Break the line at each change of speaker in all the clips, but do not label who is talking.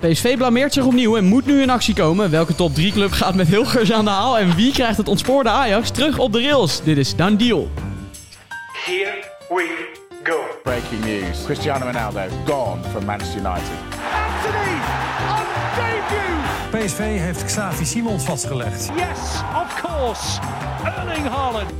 PSV blameert zich opnieuw en moet nu in actie komen. Welke top 3 club gaat met Hilgers aan de haal en wie krijgt het ontspoorde Ajax terug op de rails? Dit is Dan Deal.
Here we go.
Breaking news Cristiano Ronaldo gone from Manchester United.
Anthony on debut.
PSV heeft Xavi Simons vastgelegd.
Yes, of course. Erling Haaland.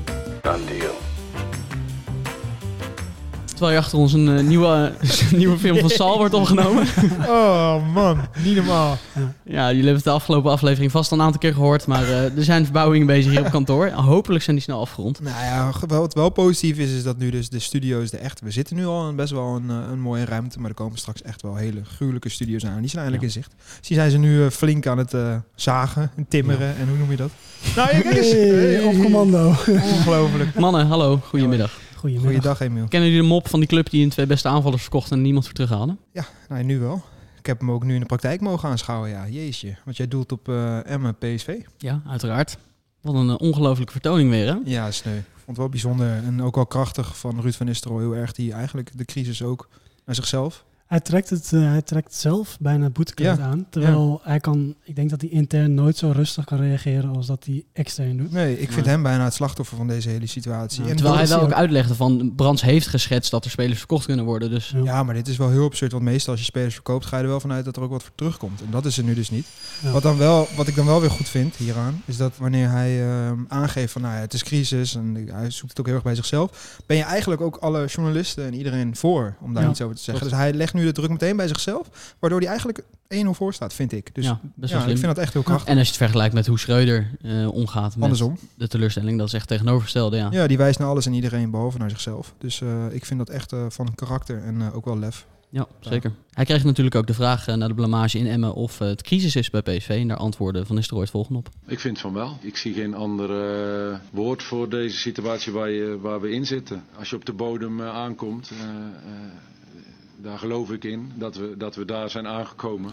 Terwijl je achter ons een eh, nieuwe, nieuwe film van Sal wordt opgenomen.
Oh man, niet normaal.
Ja, jullie hebben het de afgelopen aflevering vast al een aantal keer gehoord. Maar eh, er zijn verbouwingen bezig hier op kantoor. Hopelijk zijn die snel afgerond.
Nou ja, ge- wat wel positief is, is dat nu dus de studio's de echt... We zitten nu al in best wel een, eh, een mooie ruimte, maar er komen straks echt wel hele gruwelijke studio's aan. Die zijn eindelijk in zicht. Dus die zijn ze nu eh, flink aan het eh, zagen en timmeren en hoe noem je dat? Nou, ja, kijk eens.
Hey, op commando.
Ongelooflijk.
Mannen, hallo, goedemiddag.
Goedemiddag.
Goeiedag Emiel.
Kennen jullie de mop van die club die hun twee beste aanvallers verkocht en niemand voor terughaalde?
Ja, nou, nu wel. Ik heb hem ook nu in de praktijk mogen aanschouwen, ja. Jeetje, want jij doelt op eh Emmen PSV.
Ja, uiteraard. Wat een eh, ongelofelijke vertoning weer, hè?
Ja, sneu. Ik vond het wel bijzonder en ook wel krachtig van Ruud van Nistelrooy. Heel erg die eigenlijk de crisis ook naar zichzelf.
Hij trekt, het, eh, hij trekt zelf bijna het boetekleed
Ja,
aan. Terwijl hij kan, ik denk dat hij intern nooit zo rustig kan reageren als dat hij extern doet.
Nee, ik vind
Nee.
hem bijna het slachtoffer van deze hele situatie.
Ja,
En
Terwijl hij
dat is-
wel
hij
ook
ook.
uitlegde van Brands heeft geschetst dat er spelers verkocht kunnen worden. Dus
Ja, maar dit is wel heel absurd. Want meestal als je spelers verkoopt, ga je er wel vanuit dat er ook wat voor terugkomt. En dat is er nu dus niet.
Ja.
Wat, dan wel, wat ik dan wel weer goed vind hieraan, is dat wanneer hij ehm, aangeeft van nou ja, het is crisis en hij zoekt het ook heel erg bij zichzelf, ben je eigenlijk ook alle journalisten en iedereen voor om daar
Ja,
iets over te zeggen. Dus hij legt nu de druk meteen bij zichzelf, waardoor hij eigenlijk 1-0 voor staat, vind ik. Dus
ja,
ja,
best wel
ik
slim.
vind dat echt heel krachtig.
En als je het vergelijkt met hoe Schreuder eh, omgaat met
Andersom.
de teleurstelling, dat is echt tegenovergestelde, ja.
Ja, die wijst naar alles en iedereen behalve naar zichzelf. Dus eh, ik vind dat echt eh, van karakter en eh, ook wel lef.
Ja, zeker. Hij kreeg natuurlijk ook de vraag eh, naar de blamage in Emmen of eh, het crisis is bij PSV. En daar antwoorden Van Nistelrooy het volgende op.
Ik vind van wel. Ik zie geen ander eh, woord voor deze situatie waar, je, waar we in zitten. Als je op de bodem eh, aankomt, eh, eh, daar geloof ik in dat we, dat we daar zijn aangekomen.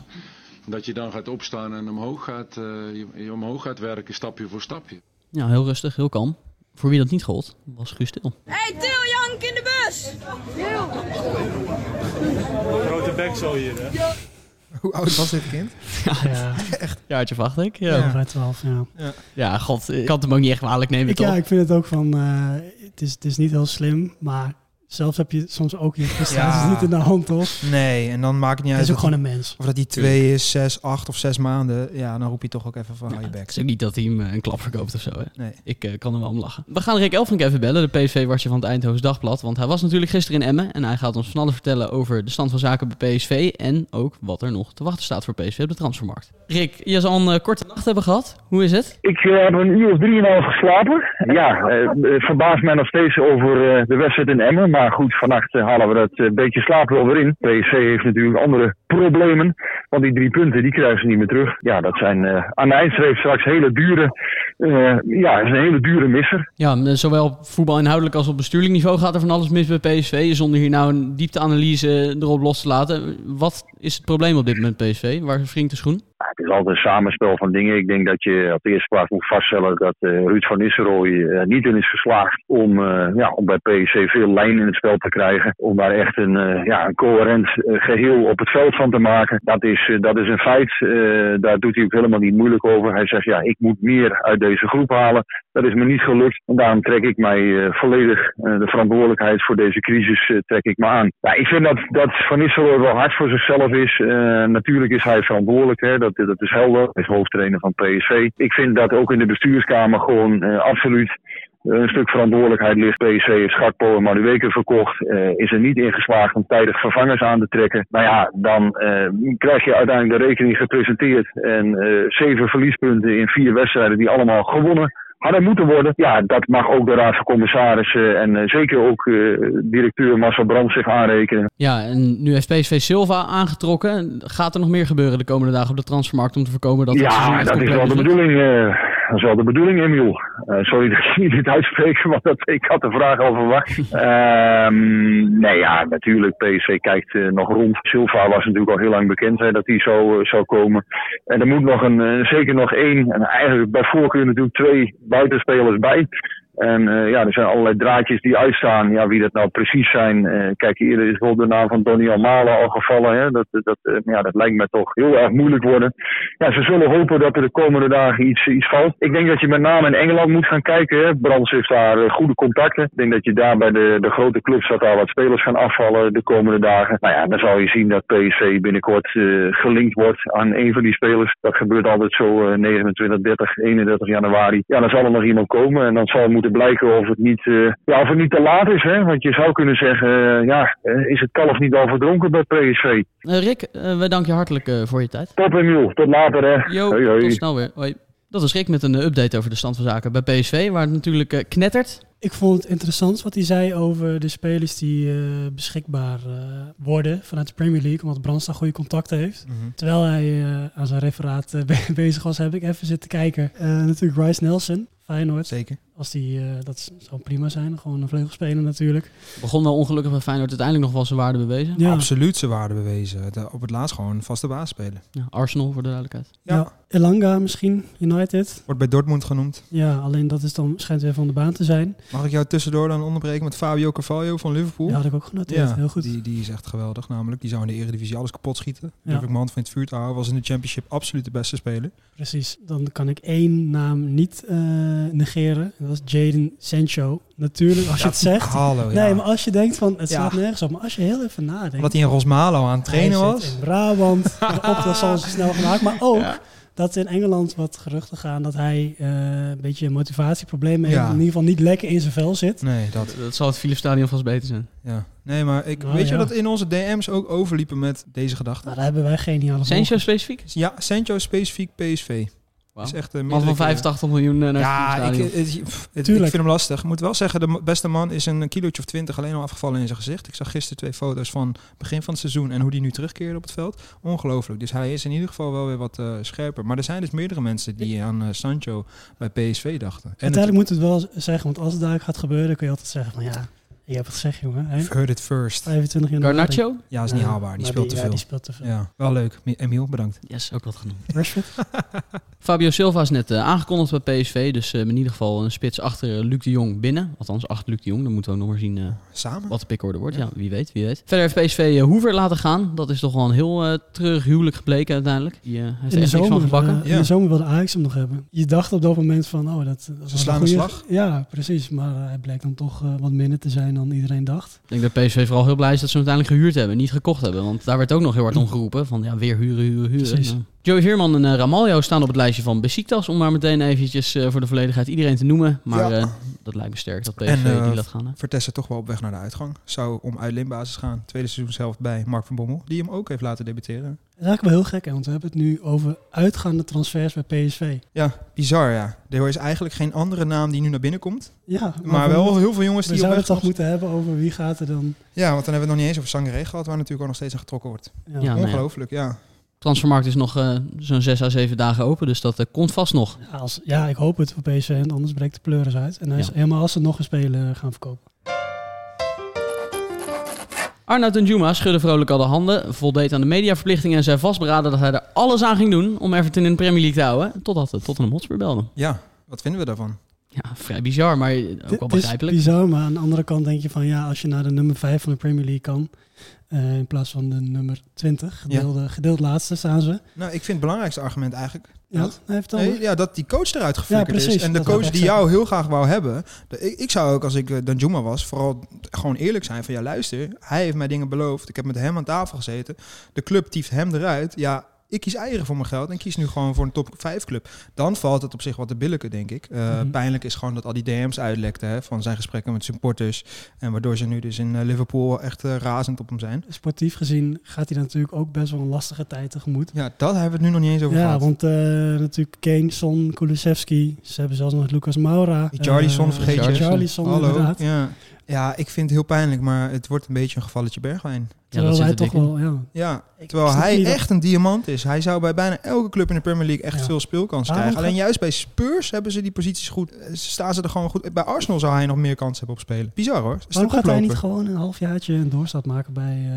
Dat je dan gaat opstaan en omhoog gaat, eh, je, je omhoog gaat werken, stapje voor stapje.
Ja, heel rustig, heel kalm. Voor wie dat niet gold, was Guus Til.
Hey, Til, Jank in de bus!
Hoe oud was dit kind?
Ja,
Jaartje wacht ik.
ja.
Ja.
bij 12, ja.
ja, god, ik kan het hem ook niet echt kwalijk nemen,
Ik,
toch?
ja, ik vind het ook van, eh, het, is, het is niet heel slim, maar zelf heb je soms ook je prestaties
Ja.
niet in de hand, toch?
Nee, en dan maakt het niet
Hij
uit
is ook
dat
gewoon
die-
een mens.
of dat die twee is, zes, acht of zes maanden. Ja, dan roep je toch ook even van hou je bek.
Het is ook niet dat hij hem eh, een klap verkoopt of zo, hè.
Nee.
Ik eh, kan er wel om lachen. We gaan Rick Elfrink even bellen, de PSV-wartje van het Eindhoven Dagblad. Want hij was natuurlijk gisteren in Emmen. En hij gaat ons van alles vertellen over de stand van zaken bij PSV. En ook wat er nog te wachten staat voor PSV op de transfermarkt. Rick, je zal een eh, korte nacht hebben gehad. Hoe is het?
Ik eh, heb een uur of drieënhalf geslapen. Ja, eh, het verbaast mij nog steeds over eh, de wedstrijd in Emmen. Maar goed, vannacht eh, halen we dat eh, beetje slaap wel weer in. PSV heeft natuurlijk andere problemen. Want die drie punten, die krijgen ze niet meer terug. Ja, dat zijn eh, aan de eindstreep straks hele dure... eh, ja, dat is een hele dure misser.
Ja, eh, zowel op voetbalinhoudelijk als op bestuurlijk niveau gaat er van alles mis bij PSV. Zonder hier nou een diepteanalyse erop los te laten. Wat is het probleem op dit moment PSV? Waar wringt de schoen?
Het is altijd een samenspel van dingen. Ik denk dat je op de eerste plaats moet vaststellen dat eh, Ruud van Nistelrooy eh, niet in is geslaagd om, eh, ja, om bij PSC veel lijn in het spel te krijgen. Om daar echt een, eh, ja, een coherent eh, geheel op het veld van te maken. Dat is, eh, dat is een feit. Eh, daar doet hij ook helemaal niet moeilijk over. Hij zegt, ja, ik moet meer uit deze groep halen. Dat is me niet gelukt. En daarom trek ik mij eh, volledig eh, de verantwoordelijkheid voor deze crisis eh, trek ik me aan. Ja, ik vind dat, dat Van Nistelrooy wel hard voor zichzelf is. Eh, natuurlijk is hij verantwoordelijk. Hè. Dat, dat is helder. Hij is hoofdtrainer van PSV. Ik vind dat ook in de bestuurskamer gewoon eh, absoluut eh, een stuk verantwoordelijkheid ligt. PSV heeft Schakpo en Madueke verkocht. eh, is er niet in geslaagd om tijdig vervangers aan te trekken. Nou ja, dan eh, krijg je uiteindelijk de rekening gepresenteerd. En eh, zeven verliespunten in vier wedstrijden die allemaal gewonnen hadden moeten worden. Ja, dat mag ook de Raad van Commissarissen en eh, zeker ook eh, directeur Marcel Brandt zich aanrekenen.
Ja, en nu heeft PSV Silva aangetrokken. Gaat er nog meer gebeuren de komende dagen op de transfermarkt om te voorkomen dat het seizoen
Ja,
echt
dat is
compleet
wel de
mislukt?
bedoeling. eh, dat is wel de bedoeling, Emiel. Eh, sorry dat ik niet dit uitspreek, want dat, ik had de vraag al verwacht. Ehm, nee, ja, natuurlijk. PSV kijkt eh, nog rond. Silva was natuurlijk al heel lang bekend hè, dat hij zo eh, zou komen. En er moet nog een, eh, zeker nog één, en eigenlijk bij voorkeur natuurlijk twee buitenspelers bij. En eh, ja, er zijn allerlei draadjes die uitstaan. Ja, wie dat nou precies zijn. eh, kijk, eerder is wel de naam van Donny Almalen al gevallen. Hè? Dat, dat, eh, ja, dat lijkt me toch heel erg moeilijk worden. Ja, ze zullen hopen dat er de komende dagen iets, iets valt. Ik denk dat je met name in Engeland moet gaan kijken. Hè? Brands heeft daar eh, goede contacten. Ik denk dat je daar bij de, de grote clubs dat daar wat spelers gaan afvallen de komende dagen. Nou ja, dan zal je zien dat PSV binnenkort eh, gelinkt wordt aan een van die spelers. Dat gebeurt altijd zo eh, 29, 30, 31 januari. Ja, dan zal er nog iemand komen en dan zal moeten blijken of het niet, eh, ja, of het niet te laat is. Hè? Want je zou kunnen zeggen, eh, ja, eh, is het kalf niet al verdronken bij PSV?
Eh, Rick, eh, wij danken je hartelijk eh, voor je tijd.
Top Emiel, tot later hè.
Jo,
Hoi, hoi.
tot snel weer. Hoi. Dat was Rick met een eh, update over de stand van zaken bij PSV, waar het natuurlijk eh, knettert.
Ik vond het interessant wat hij zei over de spelers die eh, beschikbaar eh, worden vanuit de Premier League, omdat Brandstad goede contacten heeft.
Mhm,
Terwijl hij eh, aan zijn referaat eh, be- bezig was, heb ik even zitten kijken. Eh, natuurlijk Rice Nelson, Feyenoord.
Zeker.
Als die, eh, dat z- zou prima zijn, gewoon een vleugelspeler natuurlijk.
Begon wel ongelukkig bij Feyenoord, uiteindelijk nog wel zijn waarde bewezen.
Ja.
Absoluut zijn waarde bewezen. De- op het laatst gewoon vaste baas spelen.
Ja, Arsenal voor de duidelijkheid.
Ja.
Ja, Elanga misschien, United.
Wordt bij Dortmund genoemd.
Ja, alleen dat is dan, schijnt weer van de baan te zijn.
Mag ik jou tussendoor dan onderbreken met Fabio Carvalho van Liverpool?
Ja, had ik ook genoteerd.
Ja,
Heel goed.
Die, die is echt geweldig namelijk. Die zou in de Eredivisie alles kapot schieten.
Ja.
Durf ik mijn hand van in het vuur te houden. Was in de Championship absoluut de beste speler.
Precies, dan kan ik één naam niet eh, negeren. Dat was Jaden Sancho. Natuurlijk, als je het zegt.
Hallo, ja.
Nee, maar als je denkt van het
Ja.
staat nergens op. Maar als je heel even nadenkt.
Omdat hij in Rosmalo aan het trainen
Hij zit
was.
In Brabant, de opdracht zal ze snel gemaakt. Maar ook dat in Engeland wat geruchten gaan dat hij eh, een beetje
Ja.
motivatieproblemen heeft. In ieder geval niet lekker in zijn vel zit.
Nee, dat.
Dat zal het Philips Stadion vast beter zijn.
Ja. Nee, maar ik,
Nou,
weet
ja.
je dat in onze DM's ook overliepen met deze gedachte?
Nou, daar hebben wij geniale
Sancho specifiek?
Ja, Sancho specifiek PSV.
Wauw.
Is echt een
Man van
middelijke-
85 miljoen eh, naar het
Ja,
Philips
ik,
Stadion.
het- pff, het- ik
Tuurlijk.
vind hem lastig. Ik moet wel zeggen, de m- beste man is een kilootje of twintig alleen al afgevallen in zijn gezicht. Ik zag gisteren twee foto's van begin van het seizoen en hoe die nu terugkeerde op het veld. Ongelooflijk. Dus hij is in ieder geval wel weer wat eh, scherper. Maar er zijn dus meerdere mensen die aan eh, Sancho bij PSV dachten. En
Uiteindelijk moet het wel zeggen, want als het daar gaat gebeuren, dan kun je altijd zeggen van ja, je hebt het gezegd jongen. Hè?
het- heard it first.
25 januari.
eh, Garnacho?
Ja, is niet
Ja,
haalbaar. Die
maar
speelt te
ja,
veel.
die speelt te veel.
Ja, wel leuk. Mi- Emiel, bedankt.
Yes, ook wat genoemd.
Rashford?
Fabio Silva is net eh, aangekondigd bij PSV. Dus eh, in ieder geval een spits achter eh, Luc de Jong binnen. Althans, achter Luc de Jong. Dan moeten we ook nog maar zien eh,
Samen?
wat de pickorde wordt. Ja. wie weet, wie weet. Verder heeft PSV eh, Hoever laten gaan. Dat is toch wel een heel eh treurig huwelijk gebleken uiteindelijk. Die eh, heeft
In
er
de,
echt niks van
zomer,
gebakken.
eh, in
Ja.
de zomer wilde Ajax hem nog hebben. Je dacht op dat moment van, oh, dat, dat was
slaan een
goeie-
slag.
Ja, precies. Maar eh, hij blijkt dan toch eh, wat minder te zijn dan iedereen dacht.
Ik denk dat PSV vooral heel blij is dat ze hem uiteindelijk gehuurd hebben. Niet gekocht hebben. Want daar werd ook nog heel hard om geroepen. Van ja, weer huren, huren, huren.
Precies.
Ja. Joey Veerman en eh, Ramaljo staan op het lijstje van Besiktas. Om maar meteen eventjes eh, voor de volledigheid iedereen te noemen. Maar
Ja.
eh, dat lijkt me sterk dat PSV
En, eh,
die laat gaan. Hè?
Vertessen toch wel op weg naar de uitgang. Zou om uit Limbasis gaan. Tweede seizoenshelft bij Mark van Bommel. Die hem ook heeft laten debuteren.
Dat is eigenlijk wel heel gek, hè, want we hebben het nu over uitgaande transfers bij PSV.
Ja, bizar ja. Er is eigenlijk geen andere naam die nu naar binnen komt.
Ja,
Maar
we-
wel heel veel jongens
We
die op
zouden
weg
het toch
zijn.
moeten hebben over wie gaat er dan...
Ja, want dan hebben we het nog niet eens over Sangaré gehad, waar natuurlijk ook nog steeds aan getrokken wordt.
Ja.
Ja, nou ja.
Ongelooflijk, ja.
Transfermarkt is nog eh, zo'n 6 à 7 dagen open, dus dat eh, komt vast nog.
Ja, als, ja, ik hoop het voor PSV, en anders breekt de pleuris uit. En dan is
Ja.
helemaal als ze nog een speler eh, gaan verkopen.
Arnoud en Juma schudde vrolijk al de handen, voldeed aan de mediaverplichtingen en zei vastberaden dat hij er alles aan ging doen om Everton in de Premier League te houden. Totdat de Tottenham Hotspur belde.
Ja, wat vinden we daarvan?
Ja, vrij bizar, maar ook wel
Het is
begrijpelijk.
bizar, maar aan de andere kant denk je van ja, als je naar de nummer 5 van de Premier League kan, eh, in plaats van de nummer 20,
Ja.
gedeelde, gedeeld laatste staan ze.
Nou, ik vind het belangrijkste argument eigenlijk...
Ja,
Wat?
hij heeft al.
Nee, ja, dat die coach eruit geflikkerd
Ja, precies.
is. En de
Dat wou
coach
ik
die
zeggen.
jou heel graag wou hebben. de- ik, ik zou ook, als ik eh, Danjuma was, vooral t- gewoon eerlijk zijn van... Ja, luister, hij heeft mij dingen beloofd. Ik heb met hem aan tafel gezeten. De club tieft hem eruit. Ja, ik kies eieren voor mijn geld en kies nu gewoon voor een top 5 club. Dan valt het op zich wat te billijken, denk ik. Eh,
Mhm.
Pijnlijk is gewoon dat al die DM's uitlekten hè, van zijn gesprekken met supporters. En waardoor ze nu dus in eh, Liverpool echt eh, razend op hem zijn.
Sportief gezien gaat hij dan natuurlijk ook best wel een lastige tijd tegemoet.
Ja, daar hebben we het nu nog niet eens over
Ja,
gehad.
want eh, natuurlijk Kane, Son, Kulusevski. Ze hebben zelfs nog Lucas Moura.
Die Charlison
Eh,
vergeet je.
Richarlison, inderdaad.
Ja. ja, ik vind het heel pijnlijk, maar het wordt een beetje een gevalletje Bergwijn.
Terwijl
zit
wij
er
toch
dik in.
wel, ja.
Ja,
Ik
terwijl
snap
hij
niet dat-
echt een diamant is. Hij zou bij bijna elke club in de Premier League echt
Ja.
veel speelkansen
Waarom
krijgen. Alleen
gaat-
juist bij Spurs hebben ze die posities goed. eh, Staan ze er gewoon goed. Bij Arsenal zou hij nog meer kansen hebben op spelen. Bizar hoor. Is de
Waarom gaat hij
koploper.
niet gewoon een halfjaartje een doorstart maken bij, eh,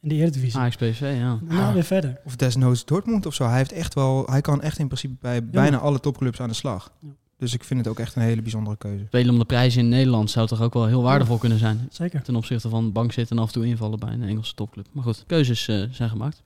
in de Eredivisie?
Ajax PSV, Ah, ja.
Daarna
Ah.
weer verder.
Of desnoods Dortmund of zo. Hij heeft echt wel. Hij kan echt in principe bij bijna alle topclubs aan de slag. Dus ik vind het ook echt een hele bijzondere keuze.
Spelen om de prijzen in Nederland zou toch ook wel heel waardevol kunnen zijn.
Zeker.
Ten opzichte van bank zitten en af en toe invallen bij een Engelse topclub. Maar goed, keuzes eh, zijn gemaakt.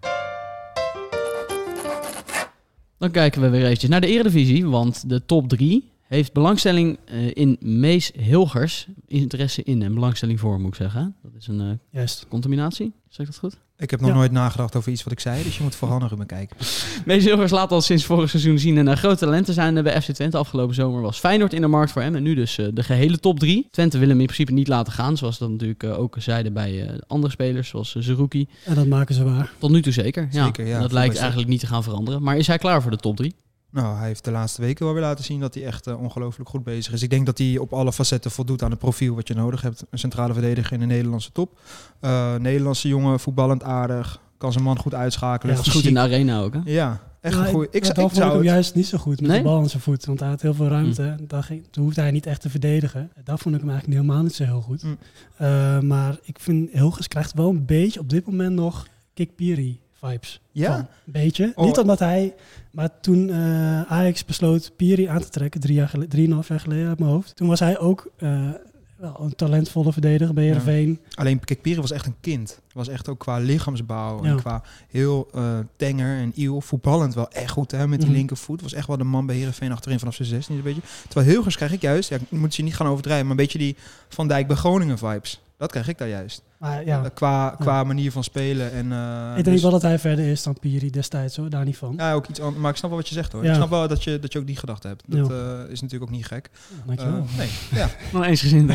Dan kijken we weer eventjes naar de Eredivisie. Want de top 3 heeft belangstelling eh, in Mees Hilgers. Interesse in en belangstelling voor, moet ik zeggen. Dat is een eh,
Juist.
contaminatie, zeg ik dat goed?
Ik heb nog
Ja.
nooit nagedacht over iets wat ik zei, dus je moet vooral naar me kijken.
Mees Hilgers laat al sinds vorig seizoen zien een eh, groot talent te zijn eh, bij FC Twente. Afgelopen zomer was Feyenoord in de markt voor hem en nu dus eh, de gehele top 3. Twente wil hem in principe niet laten gaan, zoals dat natuurlijk eh, ook zeiden bij eh, andere spelers, zoals eh, Zerouki.
En dat maken ze waar.
Tot nu toe zeker. Ja.
Zeker, ja.
En dat
Volgens mij
lijkt
is
eigenlijk niet te gaan veranderen. Maar is hij klaar voor de top 3?
Nou, hij heeft de laatste weken wel weer laten zien dat hij echt eh, ongelooflijk goed bezig is. Ik denk dat hij op alle facetten voldoet aan het profiel wat je nodig hebt. Een centrale verdediger in de Nederlandse top. Eh, Nederlandse jongen, voetballend aardig. Kan zijn man goed uitschakelen.
Ja,
Dat is goed in
fysiek.
de arena ook. Hè?
Ja, echt
Ja,
een goeie. Ik,
dat
zou- ik,
vond ik
zou
hem
het- Mm.
juist niet zo goed met
Nee?
de bal aan zijn voet. Want hij had heel veel ruimte. En Daar ging, toen hoefde hij niet echt te verdedigen. Daar vond ik hem eigenlijk helemaal niet zo heel goed.
Mm.
Eh, maar ik vind Hilgers krijgt wel een beetje op dit moment nog Kikpiri vibes.
Ja?
Van, Een beetje.
Oh.
Niet omdat hij... Maar toen eh, Ajax besloot Piri aan te trekken, drie jaar gele- drieënhalf jaar geleden uit mijn hoofd. Toen was hij ook eh, wel een talentvolle verdediger bij Heerenveen.
Alleen Kikpiri was echt een kind. Was echt ook qua lichaamsbouw en
Ja.
qua heel eh, tenger en iel. Voetballend wel echt goed hè, met die
Mhm.
linkervoet. Was echt wel de man bij Heerenveen achterin vanaf zijn 16 een beetje. Terwijl Hilgers krijg ik juist, ja, ik moet je niet gaan overdrijven, maar een beetje die Van Dijk bij Groningen vibes. Dat krijg ik daar juist.
Maar ja,
Eh, Qua, qua manier van spelen. En, eh,
ik denk
dus-
wel dat hij verder is dan Piri destijds hoor. Daar niet van.
Ja, ook iets anders. Maar ik snap wel wat je zegt hoor.
Ja.
Ik snap wel dat je, dat je ook die gedachte hebt. Dat eh, is natuurlijk ook niet gek.
Dankjewel.
Eh, nee, ja.
Nog eens gezien.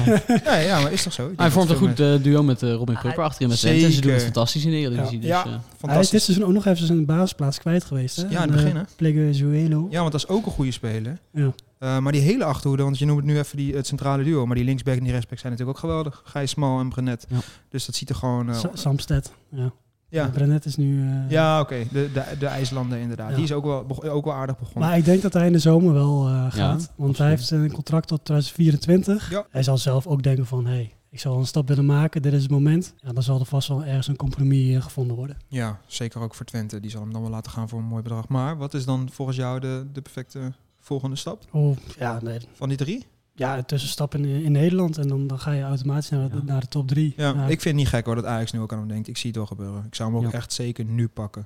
Ja, ja, maar is toch zo? Ik denk
Hij
dat
vormt een
veel
goed eh, duo met eh, Robin Prupper achterin met Twente. En ze doen het
Zeker.
fantastisch in de Eredivisie.
Ja.
Dus, eh,
mensen-
Hij is dit
Fantastisch.
seizoen ook nog even zijn basisplaats kwijt geweest. Hè?
Ja, in het begin, hè?
Plegezuelo.
Ja, want dat is ook een goede speler.
Ja.
Eh, maar die hele achterhoede, want je noemt het nu even die, het centrale duo. Maar die linksback en die rechtsback zijn natuurlijk ook geweldig. Gijs Smal en Brenet.
Ja.
Dus dat ziet er gewoon... eh,
Sa- Samsted. Ja.
ja,
Brenet is nu... eh,
ja oké. De, de, de IJslander inderdaad.
Ja.
Die is ook wel, beg- ook wel aardig begonnen.
Maar ik denk dat hij in de zomer wel eh, gaat. want hij
absoluut.
heeft een contract tot 2024.
Ja.
Hij zal zelf ook denken van... Hey, ik zal een stap willen maken. Dit is het moment. Ja, dan zal er vast wel ergens een compromis eh, gevonden worden.
Ja, zeker ook voor Twente. Die zal hem dan wel laten gaan voor een mooi bedrag. Maar wat is dan volgens jou de, de perfecte volgende stap
Oh, ja, nee.
van die drie?
ja, een tussenstap in, eh, in Nederland. En dan, dan ga je automatisch naar, de-
Ja.
naar de top drie.
Ja, ik vind het niet gek hoor dat Ajax nu ook aan hem denkt. Ik zie het wel gebeuren. Ik zou hem ook
Ja.
echt zeker nu pakken.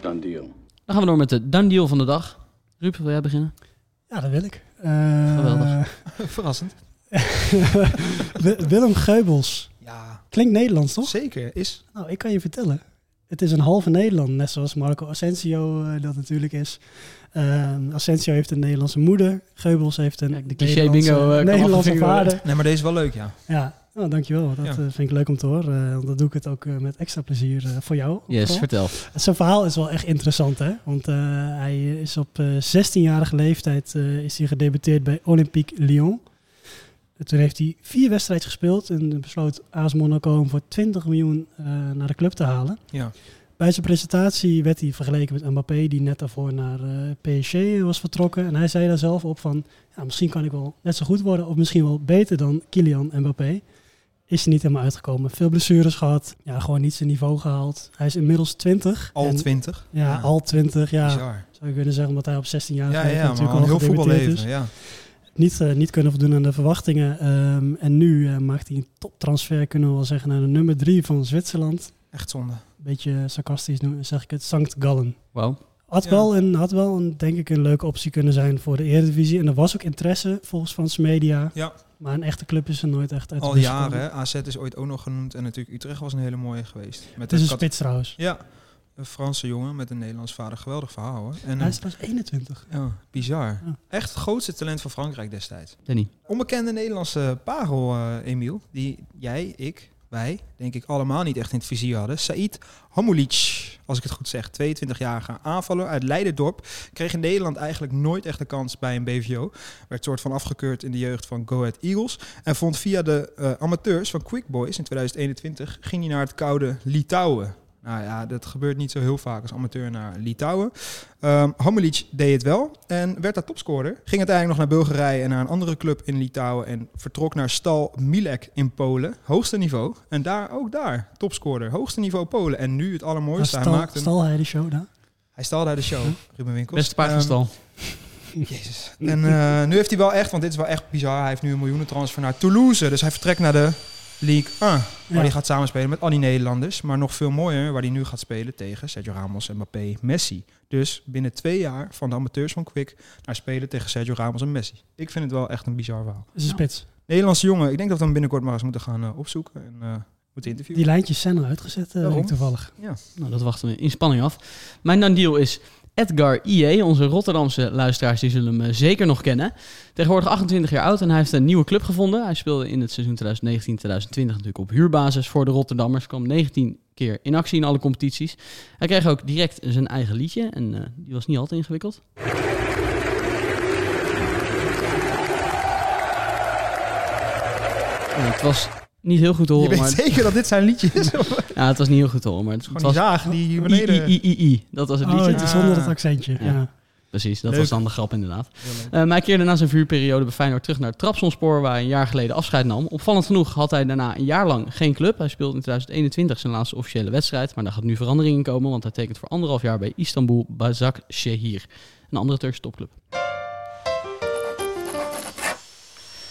Dan gaan we door met de done deal van de dag. Ruud, wil jij beginnen?
ja dat wil ik. Eh,
Geweldig.
Verrassend.
Wi- Willem Geubels.
Ja,
Klinkt Nederlands, toch?
zeker. Is.
Nou, ik kan je vertellen. Het is een halve Nederland, net zoals Marco Asensio eh, dat natuurlijk is. Ehm, Asensio heeft een Nederlandse moeder. Geubels heeft een
Kijk, de cliché
Nederlandse-
bingo, eh, kan
Nederlandse
afgevinkt worden.
vader.
Nee, maar deze is wel leuk, ja.
Ja, nou, dankjewel. Dat
Ja.
eh, vind ik leuk om te horen. Eh, want dan doe ik het ook eh, met extra plezier eh, voor jou.
Yes,
Vooral.
vertel.
Zijn verhaal is wel echt interessant, hè? Want eh, hij is op eh, 16-jarige leeftijd eh, is hij gedebuteerd bij Olympique Lyon. En toen heeft hij vier wedstrijden gespeeld en besloot AS Monaco om voor 20 miljoen eh, naar de club te halen.
Ja.
Bij zijn presentatie werd hij vergeleken met Mbappé, die net daarvoor naar eh PSG was vertrokken. En hij zei daar zelf op van, ja, misschien kan ik wel net zo goed worden of misschien wel beter dan Kylian Mbappé is er niet helemaal uitgekomen. Veel blessures gehad. Ja, gewoon niet zijn niveau gehaald. Hij is inmiddels 20.
Al
En-
20.
Ja, al 20. Ja,
Bizar.
zou je kunnen zeggen, omdat hij op 16 jaar
Ja, ja, maar
al
heel
gedebuteerd
voetballeven.
is.
Ja.
Niet, eh, niet kunnen voldoen aan de verwachtingen. Ehm, en nu eh, maakt hij een toptransfer, kunnen we wel zeggen, naar de nummer 3 van Zwitserland.
Echt zonde.
Beetje sarcastisch noem- zeg ik het, Sankt Gallen.
Wauw.
Had
Ja.
wel, een, had wel een, denk ik, een leuke optie kunnen zijn voor de Eredivisie. En er was ook interesse volgens Frans Media.
Ja.
Maar een echte club is er nooit echt uit. de
Al
bus gekomen.
jaren. hè. AZ is ooit ook nog genoemd. En natuurlijk Utrecht was een hele mooie geweest. Met
Het is een
kat-
spits trouwens.
Ja, een Franse jongen met een Nederlands vader. Geweldig verhaal hoor. En,
Hij is trouwens 21.
ja, bizar.
Ja.
Echt het grootste talent van Frankrijk destijds.
Danny.
Onbekende Nederlandse parel, eh Emiel. Die jij, ik, wij, denk ik allemaal niet echt in het vizier hadden. Said Hamoulic, als ik het goed zeg. 22-jarige aanvaller uit Leiderdorp. Kreeg in Nederland eigenlijk nooit echt de kans bij een BVO. Werd soort van afgekeurd in de jeugd van Go Ahead Eagles. En vond via de eh, amateurs van Quick Boys in 2021... ging hij naar het koude Litouwen. Nou ja, dat gebeurt niet zo heel vaak als amateur naar Litouwen. Ehm Hamelic deed het wel en werd daar topscorer. Ging uiteindelijk nog naar Bulgarije en naar een andere club in Litouwen. En vertrok naar Stal Milek in Polen. Hoogste niveau. En daar ook daar topscorer. Hoogste niveau Polen. En nu het allermooiste.
Nou, Stal,
hij
Hm?
maakt een...
Stal hij de show daar?
Hij stal daar de show, Ruben Winkels.
Beste paard van
Ehm,
stal.
Jezus. En eh, nu heeft hij wel echt, want dit is wel echt bizar. Hij heeft nu een miljoenen transfer naar Toulouse. Dus hij vertrekt naar de League 1. Waar
Ja.
hij gaat samenspelen met al die Nederlanders. Maar nog veel mooier, waar hij nu gaat spelen tegen Sergio Ramos, Mbappé, Messi. Dus binnen twee jaar van de amateurs van Quick naar spelen tegen Sergio Ramos en Messi. Ik vind het wel echt een bizar verhaal.
Dat is een spits.
Nederlandse jongen, ik denk dat we hem binnenkort maar eens moeten gaan eh, opzoeken en eh, moeten interviewen.
Die lijntjes zijn al uitgezet, eh,
Daarom.
weet ik toevallig.
Nou, dat wachten we in spanning af. Mijn non-deal is Edgar IE. Onze Rotterdamse luisteraars die zullen hem eh, zeker nog kennen. Tegenwoordig 28 jaar oud en hij heeft een nieuwe club gevonden. Hij speelde in het seizoen 2019-2020 natuurlijk op huurbasis voor de Rotterdammers. Kwam 19 keer in actie in alle competities. Hij kreeg ook direct zijn eigen liedje en eh, die was niet altijd ingewikkeld. Ja, het was niet heel goed te
Je
horen,
weet
maar
zeker dat dit zijn liedjes is. Gewoon
ja, het was niet heel goed te horen, maar het,
die
was
zaag die hier
I,
beneden...
I, I, I. Dat was het
Oh,
liedje.
het is zonder het
Ah.
accentje.
Ja.
Ja.
Precies, dat
Leuk.
was dan de grap inderdaad.
Heel leuk.
Eh, maar hij keerde na zijn vuurperiode bij Feyenoord terug naar Trabzonspor, waar hij een jaar geleden afscheid nam. Opvallend genoeg had hij daarna een jaar lang geen club. Hij speelde in 2021 zijn laatste officiële wedstrijd, maar daar gaat nu verandering in komen, want hij tekent voor anderhalf jaar bij Istanbul Bazak Shehir, een andere Turkse topclub.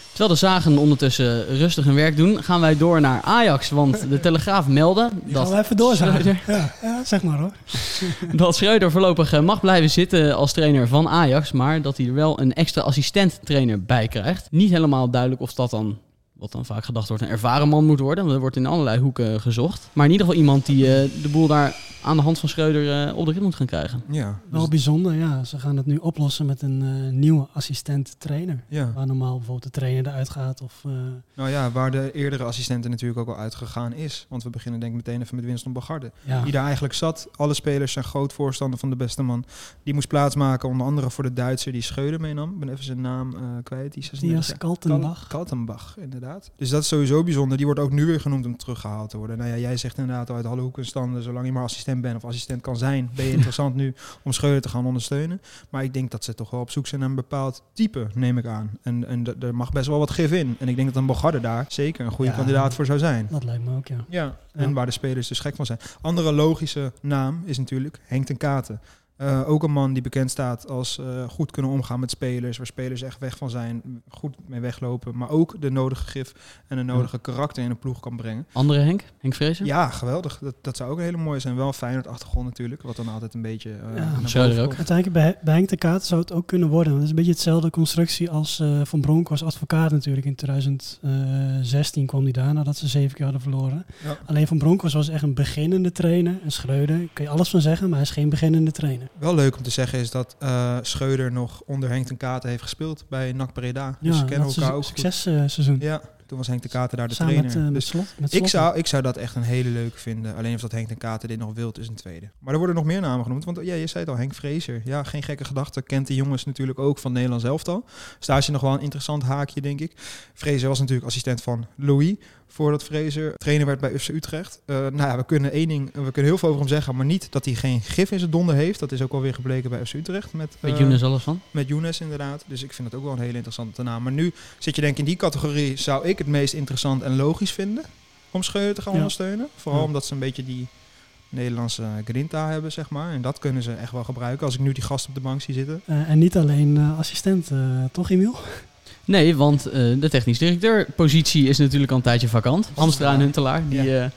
Terwijl de zagen ondertussen rustig hun werk doen, gaan wij door naar Ajax, want de Telegraaf meldde
Die gaan
dat
we even door.
Schreuder-
Ja. ja, zeg maar hoor.
Dus-
dat Schreuder voorlopig eh, mag blijven zitten als trainer van Ajax, maar dat hij er wel een extra assistent-trainer bij krijgt. Niet helemaal duidelijk of dat dan, wat dan vaak gedacht wordt, een ervaren man moet worden. Want er wordt in allerlei hoeken gezocht. Maar in ieder geval iemand die eh, de boel daar aan de hand van Schreuder eh, op de rit moet gaan krijgen.
Ja,
Wel
dus-
bijzonder, ja. Ze gaan het nu oplossen met een eh, nieuwe assistent-trainer.
ja.
Waar normaal bijvoorbeeld de trainer eruit gaat of... eh,
Nou ja, waar de eerdere assistenten natuurlijk ook al uitgegaan is. Want we beginnen denk ik meteen even met Winston Bagarde.
ja.
Die daar eigenlijk zat. Alle spelers zijn groot voorstander van de beste man. Die moest plaatsmaken onder andere voor de Duitser die Scheuder meenam. Ik ben even zijn naam eh, kwijt. Die 36
Matthias
jaar.
Kaltenbach.
Kal- Kaltenbach, inderdaad. Dus dat is sowieso bijzonder. Die wordt ook nu weer genoemd om teruggehaald te worden. Nou ja, jij zegt inderdaad al uit alle hoeken en standen... zolang je maar assistent bent of assistent kan zijn... ben je interessant nu om Scheuder te gaan ondersteunen. Maar ik denk dat ze toch wel op zoek zijn naar een bepaald type, neem ik aan. En, en d- er mag best wel wat gif in. En ik denk dat een Bogarde daar zeker een goede
Ja.
kandidaat voor zou zijn.
Dat lijkt me ook, ja.
Ja,
Ja.
en waar de spelers dus gek van zijn. Andere logische naam is natuurlijk Henk ten Katen. Eh, ook een man die bekend staat als eh, goed kunnen omgaan met spelers, waar spelers echt weg van zijn, goed mee weglopen, maar ook de nodige gif en de nodige karakter in een ploeg kan brengen.
Andere Henk, Henk Vrezer.
Ja, geweldig. Dat, dat zou ook een hele mooie zijn. Wel een Feyenoord achtergrond natuurlijk, wat dan altijd een beetje... eh, naar boven
Schreuder ook.
komt.
Uiteindelijk bij, bij Henk de Kaat zou het ook kunnen worden. Want het is een beetje hetzelfde constructie als eh, Van Bronk als advocaat natuurlijk. In 2016 kwam hij daar nadat ze zeven keer hadden verloren.
Ja.
Alleen Van Bronckhorst was echt een beginnende trainer. En Schreuder, daar kun je alles van zeggen, maar hij is geen beginnende trainer.
Wel leuk om te zeggen is dat eh, Scheuder nog onder Henk ten Katen heeft gespeeld bij NAC Breda. Dus ze kennen
dat
elkaar
seizoen-
ook goed.
successeizoen.
Ja, toen was Henk ten Katen daar de
Samen
trainer.
met, eh, met
Dus
Slot. Met
Ik
Slot.
zou, ik zou dat echt een hele leuke vinden. Alleen of dat Henk ten Katen dit nog wilt, is een tweede. Maar er worden nog meer namen genoemd. Want ja, je zei het al, Henk Vrezer. Ja, geen gekke gedachte. Kent die jongens natuurlijk ook van Nederland zelf al. Dus daar is nog wel een interessant haakje, denk ik. Vrezer was natuurlijk assistent van Louis. Voordat Vrezer trainer werd bij FC Utrecht. Eh, nou ja, we kunnen één ding, we kunnen heel veel over hem zeggen. Maar niet dat hij geen gif in zijn donder heeft. Dat is ook alweer gebleken bij FC Utrecht. Met,
Weet
eh,
Younes alles van?
met Younes inderdaad. Dus ik vind dat ook wel een hele interessante naam. Maar nu zit je denk ik in die categorie zou ik het meest interessant en logisch vinden om Scheuren te gaan
Ja.
ondersteunen. Vooral
Ja.
omdat ze een beetje die Nederlandse grinta hebben, zeg maar. En dat kunnen ze echt wel gebruiken. Als ik nu die gast op de bank zie zitten.
Eh, en niet alleen eh, assistent, eh, toch Emiel?
Nee, want eh, de technisch directeurpositie is natuurlijk al een tijdje vakant. Hamstra en Huntelaar, die eh,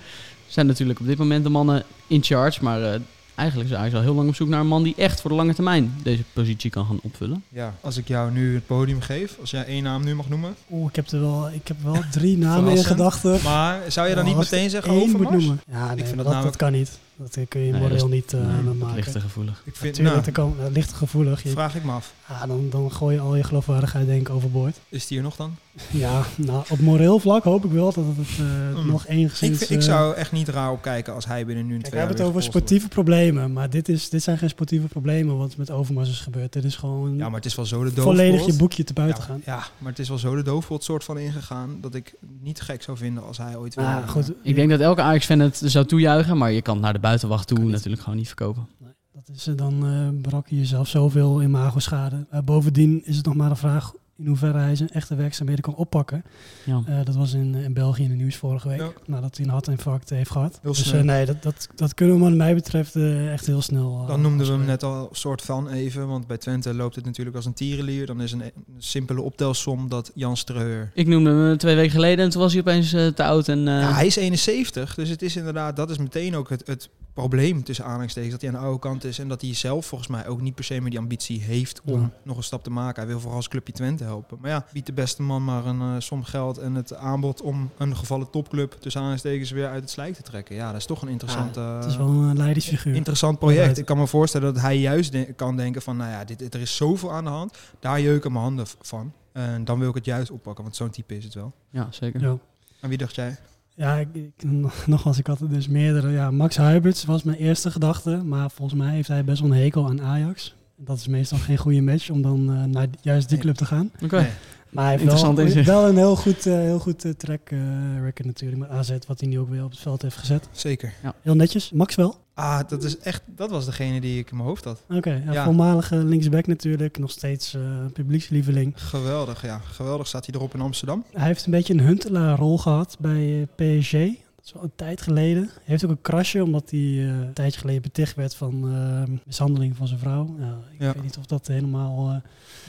zijn natuurlijk op dit moment de mannen in charge. Maar eh, eigenlijk is Ajax al heel lang op zoek naar een man die echt voor de lange termijn deze positie kan gaan opvullen.
Ja. Als ik jou nu het podium geef, als jij één naam nu mag noemen.
Oeh, ik heb er wel, ik heb wel drie namen in
Verrassend.
gedachten.
Maar zou je dan
Ja,
niet
Oh, als
meteen zeggen
Eén moet
Overmars?
noemen. Ja, nee,
vind dat
maar dat,
namelijk-
dat kan niet. Dat eh, kun je
Nee,
moreel
dat
niet eh,
Nee,
aan
dat
maken.
ligt te gevoelig.
Ik vind,
Natuurlijk,
nou,
dat kan, dat ligt gevoelig. Je-
vraag ik me af.
ja, dan, dan gooi je al je geloofwaardigheid denk ik overboord.
Is die er nog dan?
Ja, nou, op moreel vlak hoop ik wel dat het eh,
Mm.
nog
Ik,
enigszins...
vind- ik
eh,
zou echt niet raar opkijken als hij binnen nu een
Kijk, we
twee jaar
hebben het
weer
over
gepolst wordt.
sportieve problemen, maar dit, is, dit zijn geen sportieve problemen wat met Overmars is gebeurd. Dit is gewoon
Ja, maar het is wel zo de doof.
volledig je boekje te
Ja,
buiten gaan.
Ja, maar het is wel zo de doofpot soort van ingegaan dat ik niet gek zou vinden als hij ooit weer. eh,
Maar Ah, goed,
Ik denk dat elke Ajax-fan het zou toejuichen, maar je kan het naar de buitenwacht toe natuurlijk gewoon niet verkopen.
dat is, eh, dan eh, berak je jezelf zoveel imago-schade. Eh, bovendien is het nog maar een vraag in hoeverre hij zijn echte werkzaamheden kan oppakken.
Ja.
Eh, dat was in, in België in het nieuws vorige week.
Ja.
Nadat hij een hartinfarct heeft gehad.
Heel
dus
snel.
eh, nee, dat, dat, dat kunnen we wat mij betreft eh, echt heel snel. eh,
Dan noemden we hem
afspreken.
net al soort van even, want bij Twente loopt het natuurlijk als een tierenlier. Dan is een, een simpele optelsom dat Jan Streur...
Ik noemde hem eh, twee weken geleden en toen was hij opeens eh, te oud. En, eh,
Ja, hij is 71, dus het is inderdaad, dat is meteen ook het, het probleem tussen aanhalingstekens. Dat hij aan de oude kant is en dat hij zelf volgens mij ook niet per se meer die ambitie heeft om
Ja.
nog een stap te maken. Hij wil vooral als clubje Twente helpen. Maar ja, biedt de beste man maar een eh, som geld en het aanbod om een gevallen topclub tussen aanhalingstekens weer uit het slijk te trekken. Ja, dat is toch een interessante...
Het is wel een leidersfiguur.
Interessant project.
Inderdaad.
Ik kan me voorstellen dat hij juist de- kan denken van, nou ja, dit, dit- er is zoveel aan de hand. Daar jeuken mijn handen v- van. En dan wil ik het juist oppakken, want zo'n type is het wel.
ja, zeker.
ja.
En wie dacht jij?
Ja, ik, ik, nogmaals, ik had er dus meerdere. Ja, Max Huiberts was mijn eerste gedachte, maar volgens mij heeft hij best wel een hekel aan Ajax. Dat is meestal geen goede match om dan eh, naar die- juist die
Nee.
club te gaan.
Oké.
Nee.
Maar hij heeft
Interessant
wel,
inzicht.
wel een heel goed, eh, heel goed eh, track eh, record natuurlijk met AZ, wat hij nu ook weer op het veld heeft gezet.
Zeker.
Heel netjes. Max wel.
Ah, dat is echt, dat was degene die ik in mijn hoofd had.
Oké, ja,
Ja.
voormalige linksback natuurlijk, nog steeds eh publiekslieveling.
Geweldig, ja. Geweldig staat hij erop in Amsterdam.
Hij heeft een beetje een huntelaarrol gehad bij eh, PSG. Dat is wel een tijd geleden. Hij heeft ook een krasje omdat hij eh, een tijdje geleden beticht werd van eh, mishandeling van zijn vrouw. Nou, ik
Ja.
weet niet of dat helemaal eh,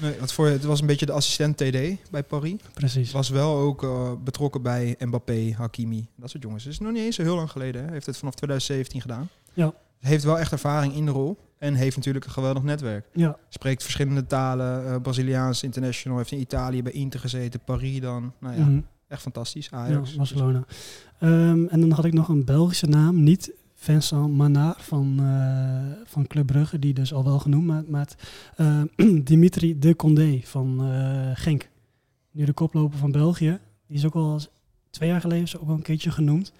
Nee, want voor, het was een beetje de assistent TD bij Paris.
precies
Was wel ook eh, betrokken bij Mbappé, Hakimi, dat soort jongens. Het is nog niet eens zo heel lang geleden. Hè. Heeft het vanaf 2017 gedaan.
Ja.
Heeft wel echt ervaring in de rol. En heeft natuurlijk een geweldig netwerk.
Ja,
Spreekt verschillende talen. eh, Braziliaans, international. Heeft in Italië bij Inter gezeten. Paris dan. Nou ja,
mhm.
echt fantastisch.
ja
Ajax. dus-
Barcelona. Ehm, en dan had ik nog een Belgische naam, niet Vincent Manard van, eh, van Club Brugge, die dus al wel genoemd, maar, maar het, eh, Dimitri de Condé van eh, Genk. Nu de koploper van België. Die is ook al eens- twee jaar geleden is ook al een keertje genoemd.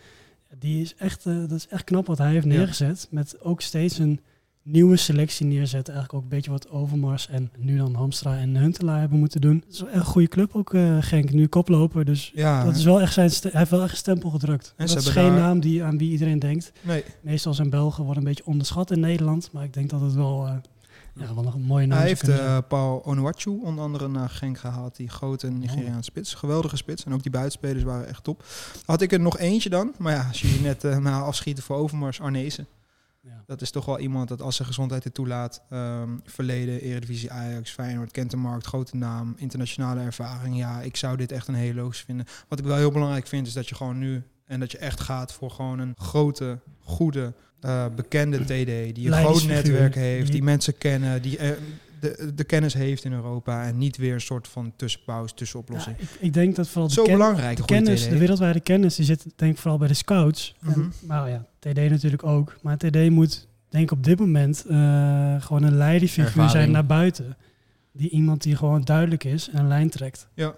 Die is echt, eh, dat is echt knap wat hij heeft
Ja.
neergezet. Met ook steeds een nieuwe selectie neerzetten. Eigenlijk ook een beetje wat Overmars en nu dan Hamstra en Huntelaar hebben moeten doen. Het is wel echt een goede club ook, eh, Genk. Nu koploper, dus
Ah, Ja,
dat is wel echt zijn, ste- hij heeft wel echt een stempel gedrukt.
En ze
dat is
hebben
geen
daar-
naam die, aan wie iedereen denkt.
nee.
Meestal zijn Belgen worden een beetje onderschat in Nederland. Maar ik denk dat het wel, eh, ja, wel een mooie
Hij
naam zou
heeft
kunnen zijn.
eh, Paul Onuachu onder andere naar Genk gehaald. Die grote Nigeriaanse spits. Geweldige spits. En ook die buitenspelers waren echt top. Had ik er nog eentje dan. Maar ja, als jullie net eh na afschieten voor Overmars, Arnezen.
Ja.
Dat is toch wel iemand dat als zijn gezondheid het toelaat... ehm, verleden, Eredivisie, Ajax, Feyenoord, kent de markt, grote naam, internationale ervaring. Ja, ik zou dit echt een hele logisch vinden. Wat ik wel heel belangrijk vind is dat je gewoon nu... en dat je echt gaat voor gewoon een grote, goede, eh, bekende TD... die een groot
Leidersfiguur.
netwerk heeft, die
Die-
mensen kennen... die eh, de, de kennis heeft in Europa... en niet weer een soort van tussenpauze, tussenoplossing.
Ja, ik, ik denk dat vooral de,
Zo
ken-
belangrijk, een
de
goede
kennis,
TD.
de wereldwijde kennis, die zit denk ik vooral bij de scouts.
Mhm.
en, nou ja, TD natuurlijk ook. Maar TD moet denk ik op dit moment eh, gewoon een leidersfiguur zijn
Ervaring.
naar buiten. Die iemand die gewoon duidelijk is en een lijn trekt.
Ja.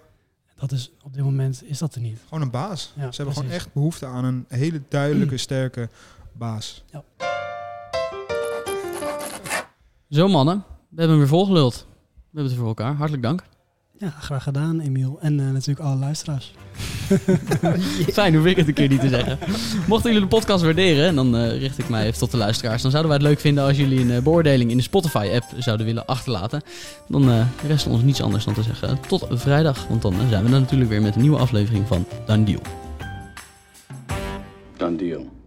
Dat is op dit moment is dat er niet.
Gewoon een baas. Ze hebben gewoon
precies.
echt behoefte aan een hele duidelijke, sterke baas.
Zo mannen, we hebben hem weer volgeluld. We hebben het voor elkaar. Hartelijk dank.
Ja, graag gedaan, Emiel. En eh, natuurlijk alle luisteraars.
Fijn, hoef ik het een keer niet te zeggen. Mochten jullie de podcast waarderen, en dan eh, richt ik mij even tot de luisteraars, dan zouden wij het leuk vinden als jullie een eh, beoordeling in de Spotify-app zouden willen achterlaten. Dan eh, rest ons niets anders dan te zeggen eh, tot vrijdag, want dan eh, zijn we er natuurlijk weer met een nieuwe aflevering van Dan Deal.
Done deal.